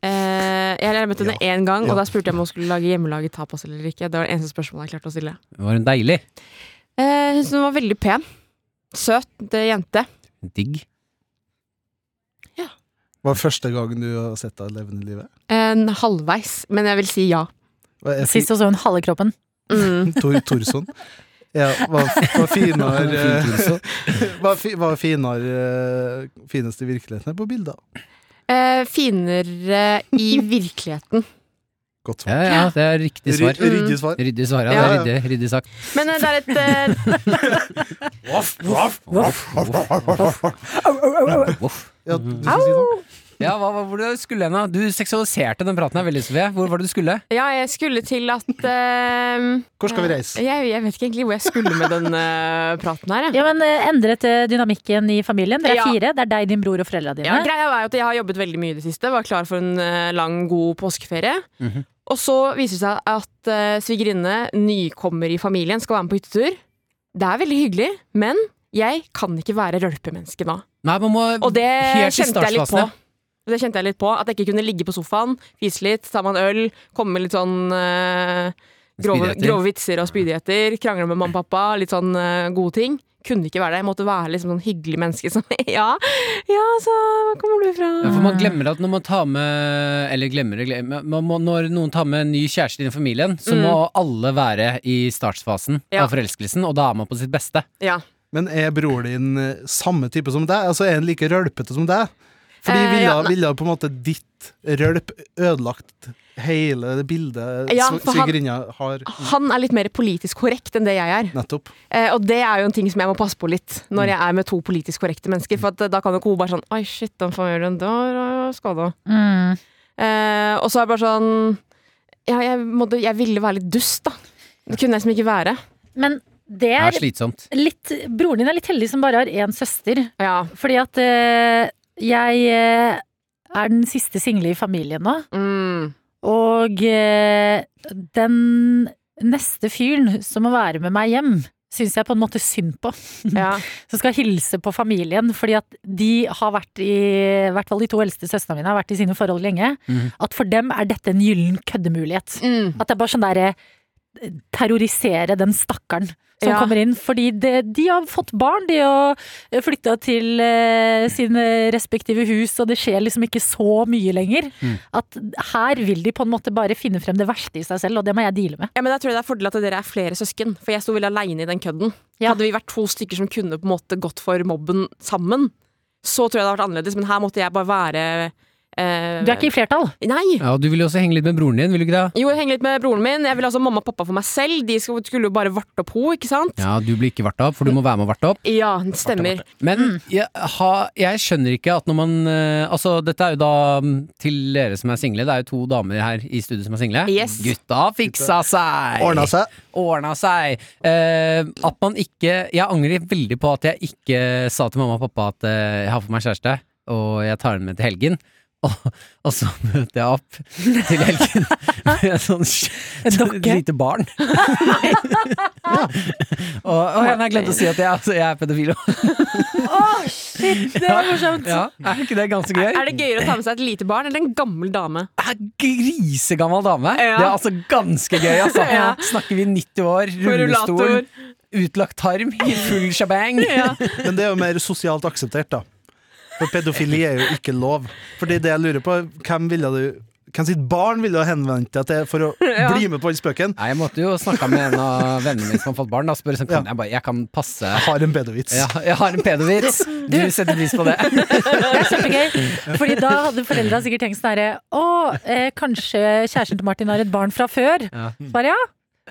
G: Eh, jeg har møtt henne én gang, og da spurte jeg om hun skulle lage hjemmelaget tapas eller ikke. Det var det eneste spørsmålet jeg klarte å stille.
F: Var den deilig?
G: Eh, jeg synes hun var veldig pen. Søt det er jente.
F: Digg.
E: Var det første gangen du har sett henne levende i livet?
G: Eh, En halvveis, men jeg vil si ja.
E: Var jeg
D: Sist jeg så hun halve kroppen.
G: Mm.
E: Tor Torsson? Ja, var, var finere eh, Var, fi, var finere eh, finest i virkeligheten på bilder.
G: Eh, finere i virkeligheten.
E: Godt
F: Ja,
E: svar.
F: ja, det er riktig svar.
E: Ry- Ryddig svar.
F: Ryddig svar, ja.
G: Ja.
F: Det er ryddig, ryddig sagt.
G: Men eh, det er et eh,
F: Voff.
E: Ja, du skal si noe?
F: Ja, hva, hva, hvor skulle hen da? Du seksualiserte den praten her veldig, Sofie. Hvor var det du skulle?
G: Ja, jeg skulle til at eh,
E: Hvor skal vi reise?
G: jeg, jeg vet ikke egentlig hvor jeg skulle med den eh, praten her. Jeg.
D: Ja, men eh, Endret eh, dynamikken i familien? Dere er
G: Ja.
D: fire. Det er deg, din bror og foreldra dine.
G: Ja, greia er jo at jeg har jobbet veldig mye i det siste. Var klar for en eh, lang, god påskeferie.
F: Mhm.
G: Og så viser det seg at eh, svigerinne, nykommer i familien, skal være med på hyttetur. Det er veldig hyggelig, men jeg kan ikke være rølpemenneske nå.
F: Nei, man må
G: Og det
F: helt i
G: kjente jeg litt på.
F: startfasene.
G: Og Det kjente jeg litt på, At jeg ikke kunne ligge på sofaen, fise litt, ta meg en øl, komme med litt sånn eh, grove,
F: Spydigheter.
G: grove vitser og spydigheter, krangle med mamma og pappa, litt sånn eh, gode ting. Kunne ikke være det. Jeg måtte være liksom sånn hyggelig menneske som Ja, ja, så hvor kommer du fra?
F: Ja, for man glemmer at når man tar med Eller glemmer, og glemmer man må, Når noen tar med en ny kjæreste inn i familien, så må alle være i startfasen
G: Ja.
F: av forelskelsen, og da er man på sitt beste.
G: Ja.
E: Men er broren din eh, samme type som deg? Altså Er han like rølpete som deg? Fordi
G: Eh,
E: ville,
G: ja, nei.
E: ville på en måte ditt rølp ødelagt hele det bildet ja,
G: Ja, for han- Ah.
E: svigerinna har?
G: Han er litt mer politisk korrekt enn det jeg er.
E: Nettopp.
G: Eh, og det er jo en ting som jeg må passe på litt når jeg er med to politisk korrekte mennesker. For at, eh, da kan jo ikke hun bare sånn Oi, shit, hva faen gjør hun der? Hva skal du?
D: Mm.
G: Eh, og så er jeg bare sånn Ja, jeg, måtte, jeg ville være litt dust, da. Det kunne jeg liksom ikke være.
D: Men det
F: Det er
D: er
F: slitsomt.
D: litt Broren din er litt heldig som bare har én søster.
G: Ja.
D: Fordi at eh, jeg eh, er den siste single i familien nå.
G: Mm.
D: Og eh, den neste fyren som må være med meg hjem, syns jeg på en måte synd på.
G: ja.
D: Som skal hilse på familien. Fordi at de har vært i, i hvert fall de to eldste søstrene mine har vært i sine forhold lenge.
F: Mhm.
D: At for dem er dette en gyllen køddemulighet.
G: Mm.
D: At det er bare sånn derre Terrorisere den stakkaren som
G: Ja.
D: kommer inn. Fordi det, de har fått barn, de har flytta til eh, sine respektive hus, og det skjer liksom ikke så mye lenger.
F: Mm.
D: At her vil de på en måte bare finne frem det verste i seg selv, og det må jeg deale med.
G: ja, men Jeg tror det er fordel at dere er flere søsken, for jeg sto veldig aleine i den kødden.
D: Ja.
G: Hadde vi vært to stykker som kunne på en måte gått for mobben sammen, så tror jeg det hadde vært annerledes, men her måtte jeg bare være eh,
D: Du er ikke i flertall.
G: Nei!
F: Ja, og du vil jo også henge litt med broren din, vil du ikke det?
G: Jo, jeg henger litt med broren min. Jeg vil altså ha mamma og pappa for meg selv. De skulle skulle jo bare varte opp henne, ikke sant?
F: Ja, du blir ikke varta opp, for du må være med og varte opp.
G: Ja, det stemmer.
F: Men jeg, ha, jeg skjønner ikke at når man eh, Altså, dette er jo da mm, til dere som er single. Det er jo to damer her i studio som er single.
G: Yes.
F: Gutta fiksa seg!
E: Ordna seg.
F: ordna seg. Eh, at man ikke Jeg angrer veldig på at jeg ikke sa til mamma og pappa at eh, jeg har fått meg kjæreste. og jeg tar den med til helgen. Og, og så møter jeg opp til helgen med en sånn
D: En
F: sånn
D: dokke?
F: lite barn. og, og jeg har glemt å si at jeg, altså, jeg er pedofil.
D: Shit, det var morsomt!
F: Ja, er ikke det ganske gøy?
G: Er det gøyere å ta med seg et lite barn eller en gammel dame?
F: er grisegammel dame.
G: Ja.
F: Det er altså ganske gøy, altså.
G: Ja.
F: Snakker vi 90 år, rullestol,
G: rullator.
F: utlagt tarm, i full shabang.
E: Men det er jo mer sosialt akseptert, da. For pedofili er jo ikke lov. Fordi det jeg lurer på, hvem ville du Hvem sitt barn ville du ha henvendt deg til for å bli med på den spøken?
F: Nei, jeg måtte jo snakke med en av vennene mine som har fått barn, da, og spørre sånn, kan jeg bare, jeg kan passe
E: Jeg har en bedovits.
F: ja, jeg har en pedovits, du setter pris på det.
D: Det er kjempegøy. Fordi da hadde foreldra sikkert tenkt sånn herre Å, eh, kanskje kjæresten til Martin har et barn fra før?
F: Ja.
D: Så Bare ja.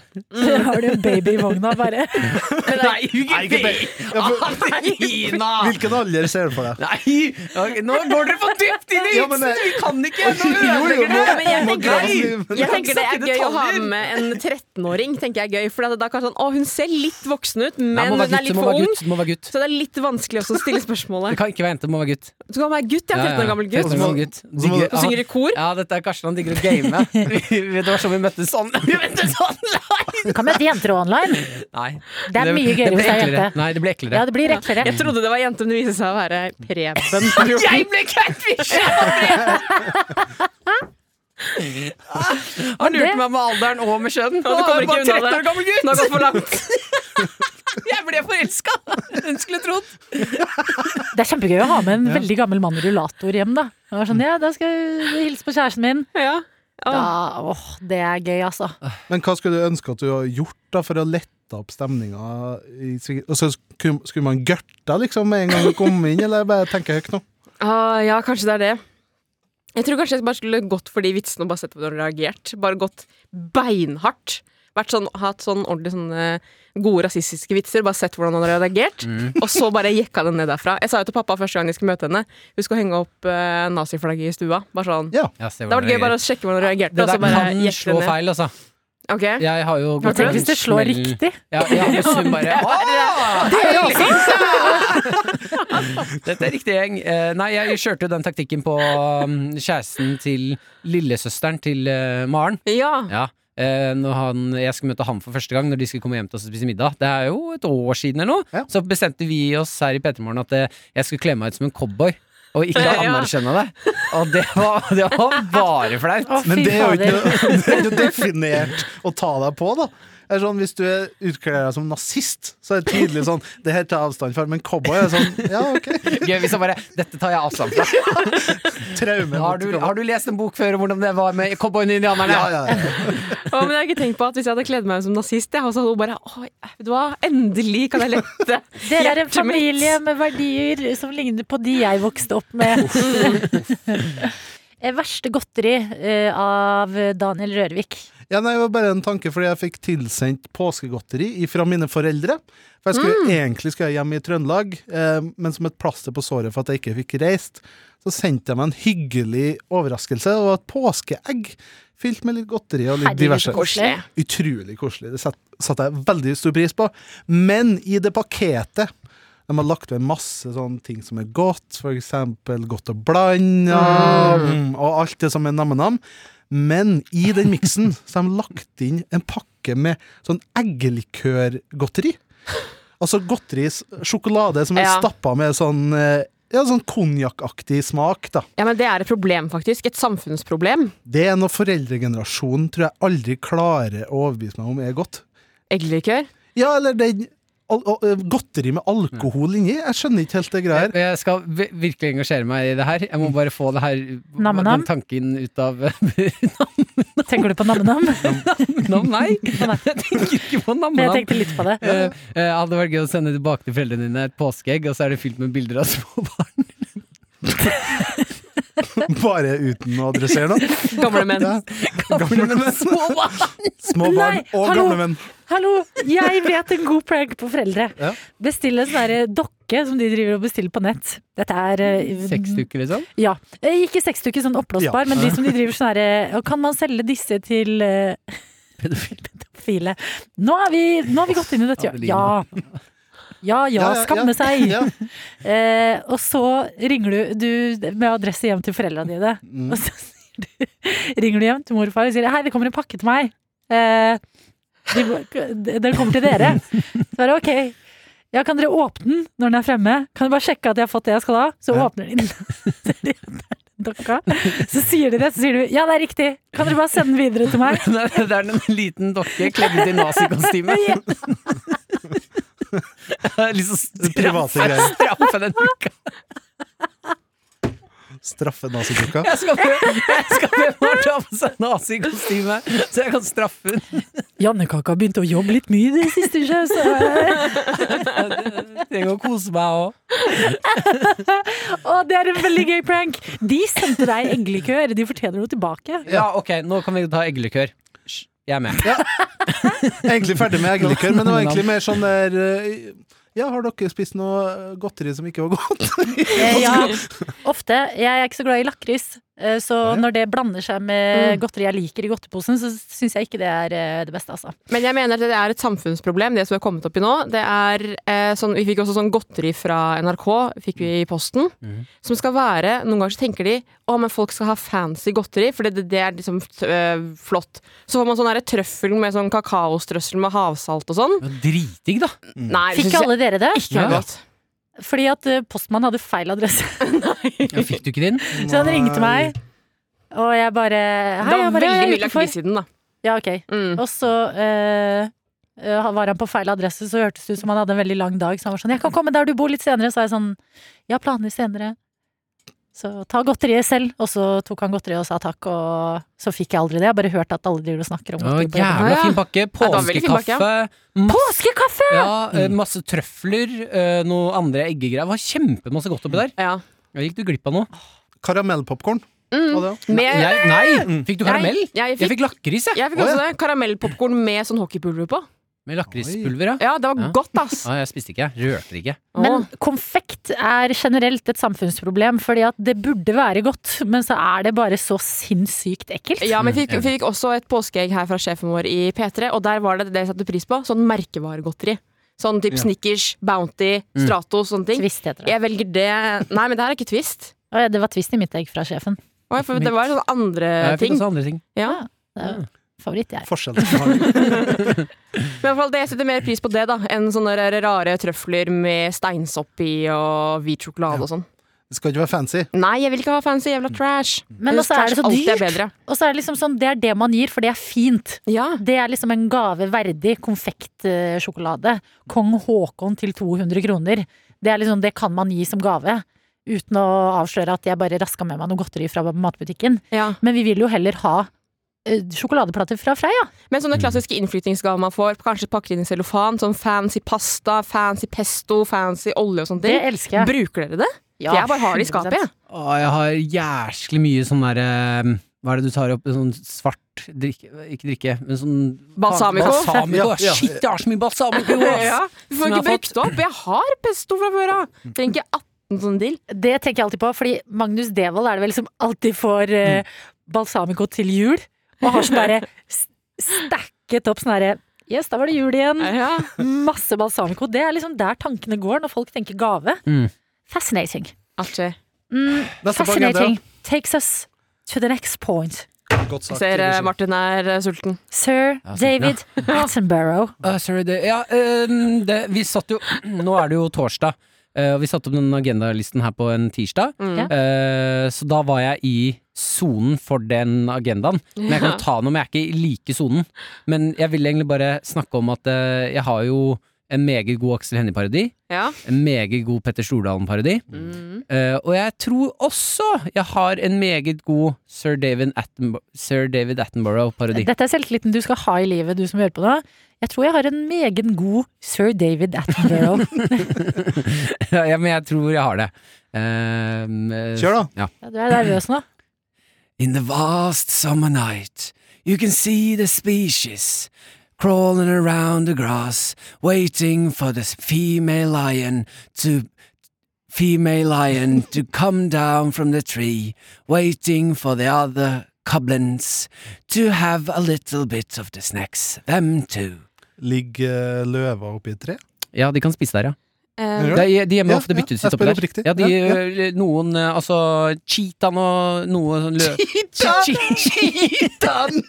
D: Så har du en baby i vogna, bare.
F: Nei,
E: Nei, ikke
F: Ugebi!
E: be- Ja, for-
F: Ina!
E: Hvilken alder ser du for deg?
F: Nei, ok, nå går dere for dypt inn i
E: Ja, men
F: vitsen! Vi kan ikke! Nå
E: Jo, jo,
F: ødelegger
E: må-
F: dere!
G: men jeg
E: må
G: tenker-
E: grave liv.
G: Jeg tenker det er
F: snakke
G: gøy å ha
F: detaljer.
G: med en 13-åring. tenker jeg er gøy For da er det kanskje sånn, å Hun ser litt voksen ut, men
F: Nei, må
G: hun
F: være
G: er
F: gutt,
G: litt
F: må
G: for
F: være
G: ung.
F: gutt, må være gutt.
G: Så det er litt vanskelig også å stille
F: Det
G: spørsmålet.
F: kan ikke være jente, må være gutt.
G: Du kan være gutt, ja. 13 år gammel gutt.
F: 13 år gammel gutt. Digger-
G: Og synger i kor.
F: Ja, dette er Karsten, han digger å game. Vi- vi- Det var sånn vi møttes sånn. Vi møttes online!
D: Du kan møte jenter online.
F: Nei.
D: Det er mye gøyere
F: blir
D: hvis det er
F: eklere.
D: jente.
F: Nei, det blir eklere.
D: Ja, det blir eklere.
G: Jeg trodde det var jente, men det viste seg å være Preben.
F: Jeg ble catfisha! Han
D: det-
F: lurte meg med alderen og med kjønn.
G: du kommer ikke
F: Bare
G: unna
F: 13 år
G: det.
F: gammel gutt!
G: Nå har det gått for langt.
F: Jeg ble forelska! Hun skulle trodd.
D: Det er kjempegøy å ha med en veldig gammel mann i rullator hjem, da. Det var sånn, ja, da skal jeg hilse på kjæresten min.
G: Ja.
D: Da,
G: Åh.
D: åh, det er gøy, altså.
E: Men hva skulle du ønske at du hadde gjort da for å lette opp stemninga? i svig- Og så skulle skulle man gørta liksom med en gang du kom inn, eller bare tenke høyt nå?
G: Ah, ja, kanskje det er det. Jeg tror kanskje jeg bare skulle gått for de vitsene og bare sett hvordan de reagerte. Bare gått beinhardt. Vært sånn, hatt sånn ordentlig sånne gode rasistiske vitser, bare sett hvordan han hadde reagert.
F: Mm.
G: Og så bare jekka den ned derfra. Jeg sa jo til pappa første gang jeg skulle møte henne, husk å henge opp eh, naziflagget i stua. Bare sånn.
E: Ja.
G: Det hadde vært gøy bare å sjekke hvordan hun reagerte.
F: Det
G: Og
F: der
G: så bare
F: kan
G: jekke
F: slå
G: den ned.
F: feil, altså.
G: Ok.
F: Jeg har jo
G: Hva
F: gått
D: Tenk hvis det slår riktig.
F: Ja, ja, hvis hun bare «Åh, Liksom. Dette er riktig gjeng. Eh, Nei, jeg kjørte jo den taktikken på mm, kjæresten til lillesøsteren til eh, Maren.
G: Ja.
F: Ja. eh, Når han, jeg skulle møte han for første gang, når de skulle komme hjem til oss og spise middag. Det er jo et år siden eller noe.
E: Ja.
F: Så bestemte vi oss her i Petermorgen at eh, jeg skulle kle meg ut som en cowboy. Og ikke
G: Ja.
F: anerkjenne det. Og det var, det var bare flaut.
D: Å,
E: Men
D: fy
E: det er jo
D: fader.
E: ikke noe- det er jo definert å ta deg på, da. Det Er sånn, hvis du er utkledd deg som nazist, så er det tydelig sånn Det her tar jeg avstand fra, men cowboy er sånn Ja, OK.
F: Gøy hvis han bare Dette tar jeg avstand fra.
E: Traume.
F: Har du, har du lest en bok før om hvordan det var med cowboyen og indianerne?
E: Ja, ja, ja.
G: Å, men jeg har ikke tenkt på at Hvis jeg hadde kledd meg ut som nazist, jeg, og så hadde hun bare Å, vet du hva, endelig kan jeg lette
D: Dere er en
G: hjertet mitt».
D: familie med verdier som ligner på de jeg vokste opp med. Eh, Verste godteri eh, av Daniel Rørvik.
E: Ja, nei, det var bare en tanke, fordi jeg fikk tilsendt påskegodteri fra mine foreldre. For jeg skulle,
D: Mm.
E: egentlig skulle jeg hjem i Trøndelag, eh, men som et plaster på såret for at jeg ikke fikk reist, så sendte jeg meg en hyggelig overraskelse. Det var et påskeegg fylt med litt godteri og litt
D: Herregud, så
E: diverse.
D: koselig.
E: Utrolig koselig. Det satt- satte jeg veldig stor pris på. Men i det paketet de har lagt ved masse sånne ting som er godt, f.eks. godt å blande, mm, og alt det som er nam-nam. Men i den miksen så har de lagt inn en pakke med sånn eggelikørgodteri. Altså godteri, s- sjokolade som er
G: Ja.
E: stappa med sånn eh, ja, sånn konjakkaktig smak, da.
G: Ja, men Det er et problem, faktisk. Et samfunnsproblem.
E: Det er noe foreldregenerasjonen tror jeg aldri klarer å overbevise meg om er godt.
G: Eggelikør.
E: Ja, eller den al al eh, godteri med alkohol inni. Jeg skjønner ikke helt det greia her.
F: Eh, Jeg skal vi- virkelig engasjere meg i det her. Jeg må bare få det her,
D: Nam-nam?
F: den tanken ut av
D: Tenker du på Nam-Nam?
F: Nam, Nei,
D: Å, nei.
F: jeg tenker ikke på
D: Jeg
F: nam-nam.
D: tenkte litt på det.
F: Eh, eh, hadde vært gøy å sende tilbake til foreldrene dine et påskeegg, og så er det fylt med bilder av små barn.
E: Bare uten å adressere noe.
G: Gamle menn.
E: Ja. Gamle menn.
F: Små barn!
E: Små barn
D: Nei,
E: og
D: hallo.
E: gamle menn.
D: Hallo, jeg vet en god prank på foreldre.
E: Ja.
D: Bestille en sånn derre dokke som de driver og bestiller på nett. Dette er eh,
F: Seks stykker, liksom.
D: Ja. Eh, Ikke sekstuke, sånn oppblåsbar, men de som de driver sånn herre Og kan man selge disse til eh, pedofile? Nå er vi, nå har vi gått inn i dette, ja.
F: Adelina.
D: ja. Ja ja, skamme seg!
E: Ja.
D: Eh, og så ringer du, du med adresse hjem til foreldrene dine. Og så sier du, ringer du hjem til mor og far og sier Hei, det kommer en pakke til meg. Eh, de, den kommer til dere. Så bare ok. Ja, kan dere åpne den når den er fremme? Kan du bare sjekke at jeg har fått det jeg skal ha? Så
E: Ja.
D: åpner de den. Så er det den dokka. Så sier de det, så sier du ja, det er riktig. Kan dere bare sende den videre til meg?
F: Det er- det er en liten dokke kledd i nazikostyme.
D: Ja.
F: Liksom
E: Private
F: straffe,
E: greier.
F: straffe den uka.
E: Straffe nazidukka.
F: Jeg skal prøve jeg skal prøve å ta på seg nazikostyme, så jeg kan straffe den.
D: Jannekaka har begynt å jobbe litt mye i det siste, sjø, så
F: Trenger å kose meg òg.
D: Å, det er en veldig gøy prank! De sendte deg englekøer, de fortjener noe tilbake.
F: Ja, ok, nå kan vi ta eggelikør. Hysj, Jeg er med.
E: Egentlig ferdig med eggelikør, men det var
F: Nå-
E: egentlig mer sånn der eh, Ja, har dere spist noe godteri som ikke var godt?
D: Eh, ja, ofte. Jeg er ikke så glad i lakris, eh, så når det blander seg med godteri jeg liker i godteposen, så syns jeg ikke det er eh, det beste, altså.
G: Men jeg mener at det er et samfunnsproblem, det som er kommet opp i nå. Det er, eh, sånn, vi fikk også sånn godteri fra NRK fikk vi i posten. Som skal være Noen ganger så tenker de å, men folk skal ha fancy godteri, for det, det er liksom eh, flott. Så får man sånn der trøffel med sånn kakaostrøssel med havsalt og sånn.
F: Dritdigg, da.
G: Nei, det
D: Fikk
G: synes jeg
D: alle dere det?
G: ikke er godt.
D: Fordi at eh, postmannen hadde feil adresse.
F: Fikk du ikke din?
D: Så han ringte meg, og jeg bare Hei,
G: Det
D: jeg
G: var
D: bare
G: veldig
D: jeg
G: mye
D: er utenfor.
G: lakris i den, da.
D: Ja, ok.
G: Mm.
D: Og så eh, eh, var han på feil adresse, så hørtes det ut som han hadde en veldig lang dag. Så han var sånn 'Jeg kan komme der du bor litt senere', så var jeg sånn 'Jeg har planer senere'. Så ta godteriet selv. Og så tok han godteriet og sa takk, og så fikk jeg aldri det. Jeg har bare hørt at alle driver og snakker om
F: Å,
D: godteri. på jobben.
F: jævla fin pakke.
G: det var veldig fin pakke,
F: Påskekaffe.
D: Påskekaffe!
F: Ja, eh, masse trøfler. eh, Noe andre eggegreier. Det var kjempemasse godt oppi der.
G: Ja.
F: Ja, Gikk du glipp av noe?
E: Karamellpopkorn.
G: Mm.
E: Og det-
G: Med,
F: Jeg, nei! Fikk du karamell?
G: Jeg- jeg
F: Jeg fikk lakris, jeg.
G: jeg fikk
E: Å,
G: også det. Karamellpopkorn med sånn hockeypulver på.
F: Med lakrispulver, ja.
G: Ja, det var
F: Ja.
G: godt, ass.
F: Ja, jeg spiste ikke, jeg rørte det ikke.
D: Men konfekt er generelt et samfunnsproblem, fordi at det burde være godt, men så er det bare så sinnssykt ekkelt.
G: Ja, men vi fikk,
F: Mm,
G: vi fikk også et påskeegg her fra sjefen vår i P3, og der var det det jeg satte pris på. Sånn merkevaregodteri. Sånn typ Snickers, Bounty,
F: Mm.
G: Stratos, sånne ting.
D: Twist heter det.
G: Jeg velger det Nei, men det her er ikke Twist.
D: Å, ja, Det var twist i mitt egg fra sjefen.
G: Å, For det var sånne andre
F: Ja, Jeg fikk
G: Eh,
F: sånn.
G: ting.
F: også andre ting.
G: Ja.
D: Det er favoritt, jeg.
E: Forskjellen som har-
G: Men i hvert fall det, jeg setter mer pris på det da enn sånne der rare trøfler med steinsopp i og hvit sjokolade og sånn.
E: Det skal ikke være fancy.
G: Nei, jeg vil ikke ha fancy jævla trash.
D: Men også er det så
G: Trash alltid er
D: dyrt.
G: bedre.
D: Og så er det liksom sånn, det er det man gir, for det er fint.
G: Ja.
D: Det er liksom en gave verdig konfektsjokolade. Kong Haakon til 200 kroner. Det er liksom, det kan man gi som gave. Uten å avsløre at jeg bare raska med meg noe godteri fra matbutikken.
G: ja.
D: Men vi vil jo heller ha eh, sjokoladeplater fra Freia.
G: Men sånne klassiske innflyttingsgaver man får, kanskje pakket inn i cellofan, sånn fancy pasta, fancy pesto, fancy olje og sånne
D: Det
G: ting.
D: elsker jeg.
G: Bruker dere det? For jeg bare har det i skapet, jeg.
F: Å, jeg har jæsklig mye sånn derre Hva er det du tar opp? Sånn svart drikke Ikke drikke, men sånn
G: Balsamico.
F: balsamico.
E: Ja, ja.
F: Shit, jeg har så mye balsamico! ass.
G: Ja, du
F: Som
G: får ikke
F: jeg har
G: brukt det opp. Jeg har pesto fra før av. Trenger ikke 18 sånne dill.
D: Det tenker jeg alltid på, fordi Magnus Devold er det vel som alltid får eh, balsamico til jul. Og har sånn bare s- stacket opp sånn herre Yes, da var det jul igjen.
G: Ja.
D: Masse balsamico. Det er liksom der tankene går når folk tenker gave.
F: Mm.
D: Fascinating.
G: Artig.
D: Mm,
E: Neste på
D: fascinating takes us to the next point.
E: Godt sagt.
G: Ser eh,
E: Regi.
G: Martin er eh, sulten.
D: Sir
F: Ja, sulten,
D: David Attenborough.
F: Ah, sorry, det, ja, ehm, det, vi satt jo Nå er det jo torsdag, eh, og vi satte opp den agendalisten her på en tirsdag.
D: Ja.
F: Eh, så da var jeg i sonen for den agendaen. Men jeg kan jo ta noe, men jeg er ikke i like sonen. Men jeg vil egentlig bare snakke om at eh, jeg har jo en meget god Aksel Hennie-parodi.
G: Ja.
F: En meget god Petter Stordalen-parodi.
G: Mm.
F: Eh, og jeg tror også jeg har en meget god Sir David, Attenbo Sir David Attenborough-parodi.
D: Dette er selvtilliten du skal ha i livet, du som hører på nå. Jeg tror jeg har en meget god sir David Attenborough.
F: ja, men jeg tror jeg har det. Ehm, eh,
E: Kjør, da.
F: Ja.
D: Ja, du er nervøs nå?
F: In the vast summer night, you can see the species crawling around the grass, waiting for the female lion to female lion to come down from the tree, waiting for the other goblins to have a little bit of the snacks, them too.
E: Ligger eh, løva oppi et tre?
F: Ja, de kan spise der, ja.
G: Eh,
E: Ja.
F: De, de gjemmer
E: Ja,
F: ofte
E: ja,
F: byttet
E: jeg
F: sitt oppi
E: spiller
F: der.
E: oppriktig.
F: Ja, de,
E: Ja,
F: eh, Noen eh, Altså, cheetaen og noe sånn lø... Cheetaen!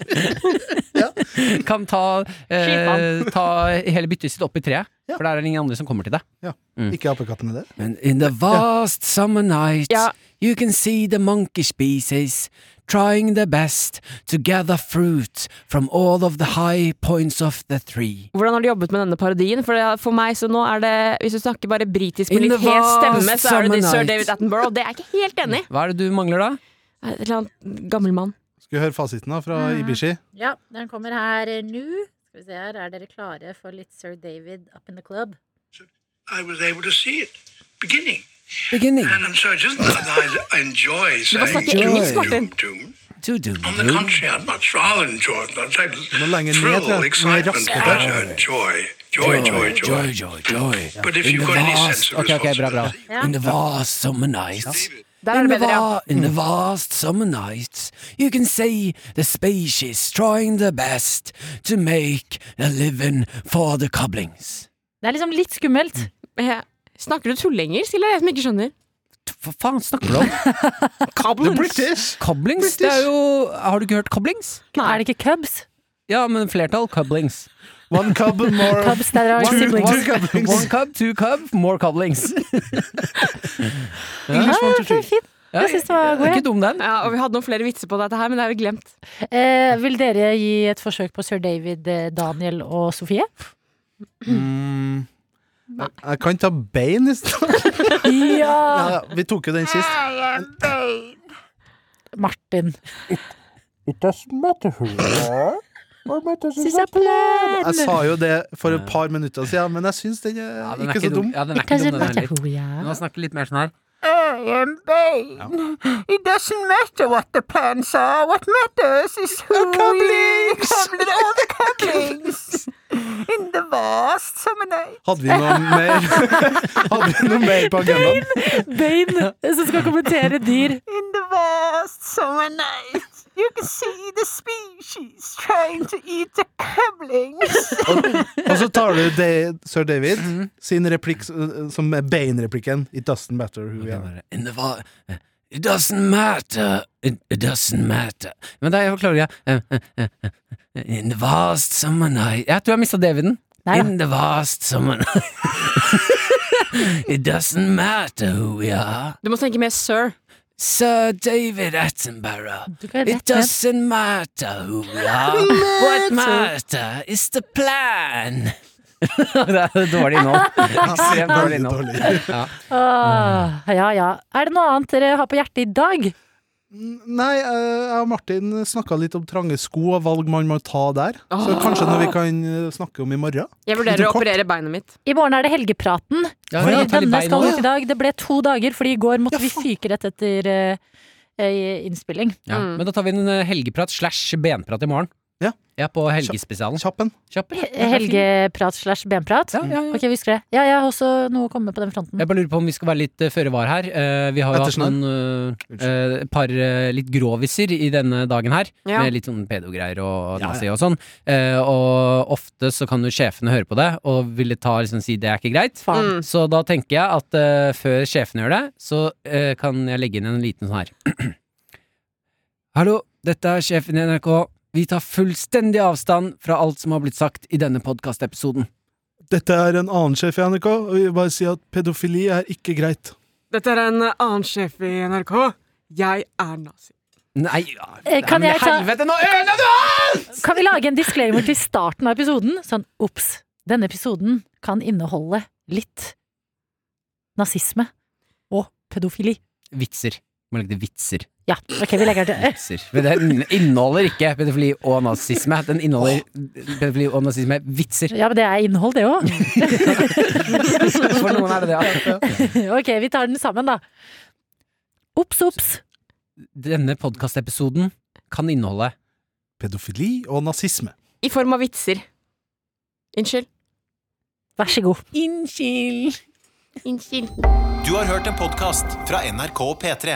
F: Kan ta, eh, ta hele byttet sitt opp i treet,
E: Ja.
F: for der er det ingen andre som kommer til deg.
E: Ikke apekattene der.
F: And in the vast summer night,
G: Ja.
F: you can see the monkey species trying their best to gather fruit from all of the high points of the tree.
G: Hvordan har du jobbet med denne parodien? For, det, for meg så nå er det Hvis du snakker bare britisk med
F: In
G: litt
F: the
G: hes
F: vast
G: stemme, så er det
F: summer
G: sir
F: night.
G: David Attenborough. Det er jeg ikke helt enig i.
F: Hva er det du mangler da?
G: Et eller annet gammel mann.
E: Skal vi høre fasiten da, fra
D: Mhm.
E: Ibishi?
D: Ja, den kommer her eh, nå. Skal vi se her, Er dere klare for litt Sir David up in the club?
H: I was able to see it beginning.
F: Beginning.
H: And I'm sorry, just I, I enjoy
G: Du må
H: saying
G: snakke engelsk, Martin.
H: doom, doom.
F: To do.
H: On the contrary, I'd much rather enjoy it. I'd
E: må lange
H: say
E: ned, tror jeg.
H: thrill,
E: Mer
H: excitement,
E: raskere.
H: pleasure, joy. Joy, joy, joy.
F: joy, joy.
H: But if you've got any sense of
F: Ok, ok, bra, bra.
H: responsibility,
D: Ja.
F: In the vast summer nights.
G: Der er det
F: in, the
G: bedre, ja.
F: va- in the vast summer nights, you can see the species trying their best to make a living for the cobblings.
D: Det er liksom litt skummelt.
G: Eh, Snakker du tullengelsk, eller er det jeg som ikke skjønner?
F: Hva faen snakker du om?
E: British!
F: Cobblings? Det er jo Har du ikke hørt cobblings?
D: Er det ikke Cubs?
F: Ja, men flertall cobblings.
E: One cub more of
D: Cubs, der har
E: Two-
D: siblings.
E: two couplings.
F: One cub, two cub, more cobblings.
D: Ja,
E: English one to
D: det
E: three.
D: er fint. Jeg synes det var god, ja.
F: Ikke dum den.
G: Ja, og Vi hadde noen flere vitser på dette her, men det har vi glemt.
D: Eh, vil dere gi et forsøk på Sir David, eh, Daniel og Sofie?
E: Mm. Jeg- Jeg kan ta bein i stedet.
D: Ja!
E: Ja, vi tok jo den sist.
D: Martin.
E: Jeg sa jo det for et par minutter siden, men jeg syns den er, ikke så dum.
F: Ja, den er
D: It
F: ikke dum,
D: doesn't
F: den
D: matter
F: heller.
D: who we are.
F: Nå snakker litt mer sånn her.
B: I am Bane. It doesn't matter what the pants are. What matters is who the
E: cobblings.
B: Cobblings. All the cobblings. In the vast summer night.
E: Hadde vi noe mer, hadde vi noe mer på agendaen?
D: Bane eh, som skal kommentere dyr.
B: In the vast summer night. You can see the species trying to eat the cobblings.
E: Og så tar du Da- sir David
G: Mm.
E: sin replikk s- eh, som er Bane-replikken. It doesn't matter who we are.
F: er In the va- It doesn't matter. It, it doesn't matter. Men da jeg klarer Eh, jeg eh, In the vast summer night Jeg tror jeg mista Daviden.
D: Nei da.
F: In the vast summer night. It doesn't matter who we are.
G: Du må tenke mer sir.
F: Sir David Attenborough.
D: Du kan
F: It
D: rett ned.
F: doesn't matter who we are. What matter is the plan. det er dårlig innhold. Ekstremt dårlig innhold. Ja.
D: Åh, Ah, ja, ja. Er det noe annet dere har på hjertet i dag?
E: Nei, eh, jeg og Martin snakka litt om trange sko og valg man må ta der. Så kanskje noe vi kan eh, snakke om i morgen.
G: Ah. Jeg
E: Litt
G: vurderer å
E: kort.
G: operere beinet mitt.
D: I morgen er det helgepraten.
F: Ja,
D: Fordi
F: det er litt
D: denne
F: bein
D: skal
F: også.
D: ut i dag. Det ble to dager, fordi i går måtte
E: Ja,
D: vi
E: faen.
D: fyke rett etter eh, eh, innspilling.
F: Ja, Men da tar vi en eh, helgeprat slash benprat i morgen.
E: Ja.
F: på helgespesialen.
E: Kjapp en.
F: Kjapp. ja.
D: He- Helgeprat slash benprat?
F: Ja, ja, ja.
D: Ok, vi husker det. Ja, jeg har også noe å komme med på den fronten.
F: Jeg bare lurer på om vi skal være litt eh, føre var her. Eh, vi har jo hatt
E: Ettersnø.
F: noen eh, eh, par eh, litt groviser i denne dagen her,
G: Ja.
F: med litt sånn pedo-greier og nazi og sånn. Eh, og ofte så kan jo sjefene høre på det og ville ta liksom si det er ikke greit.
D: Faen.
F: Så da tenker jeg at eh, før sjefene gjør det, så eh, kan jeg legge inn en liten sånn her. Hallo, dette er sjefen i NRK. Vi tar fullstendig avstand fra alt som har blitt sagt i denne podkastepisoden.
E: Dette er en annen sjef i NRK, og vi vil bare si at pedofili er ikke greit.
G: Dette er en annen sjef i NRK. Jeg er nazi.
F: Nei, ja,
D: Eh, kan
F: nei, men
D: jeg ta-
F: helvete, nå ødela du alt!
D: Kan vi lage en disclaimer til starten av episoden? Sånn, ops, denne episoden kan inneholde litt nazisme og pedofili.
F: Vitser. Må legge til vitser.
D: Ja, ok, vi legger det til.
F: vitser. Men den inneholder ikke pedofili og nazisme. Den inneholder pedofili og nazisme vitser.
D: Ja, men det er innhold, det òg.
F: For noen er det det. ja. Mm.
D: ok, vi tar den sammen, da. Ops, ops.
F: Denne podkastepisoden kan inneholde
E: Pedofili og nazisme.
G: I form av vitser. Unnskyld.
D: Vær så god.
G: Unnskyld.
A: Du har hørt en podcast fra NRK P3.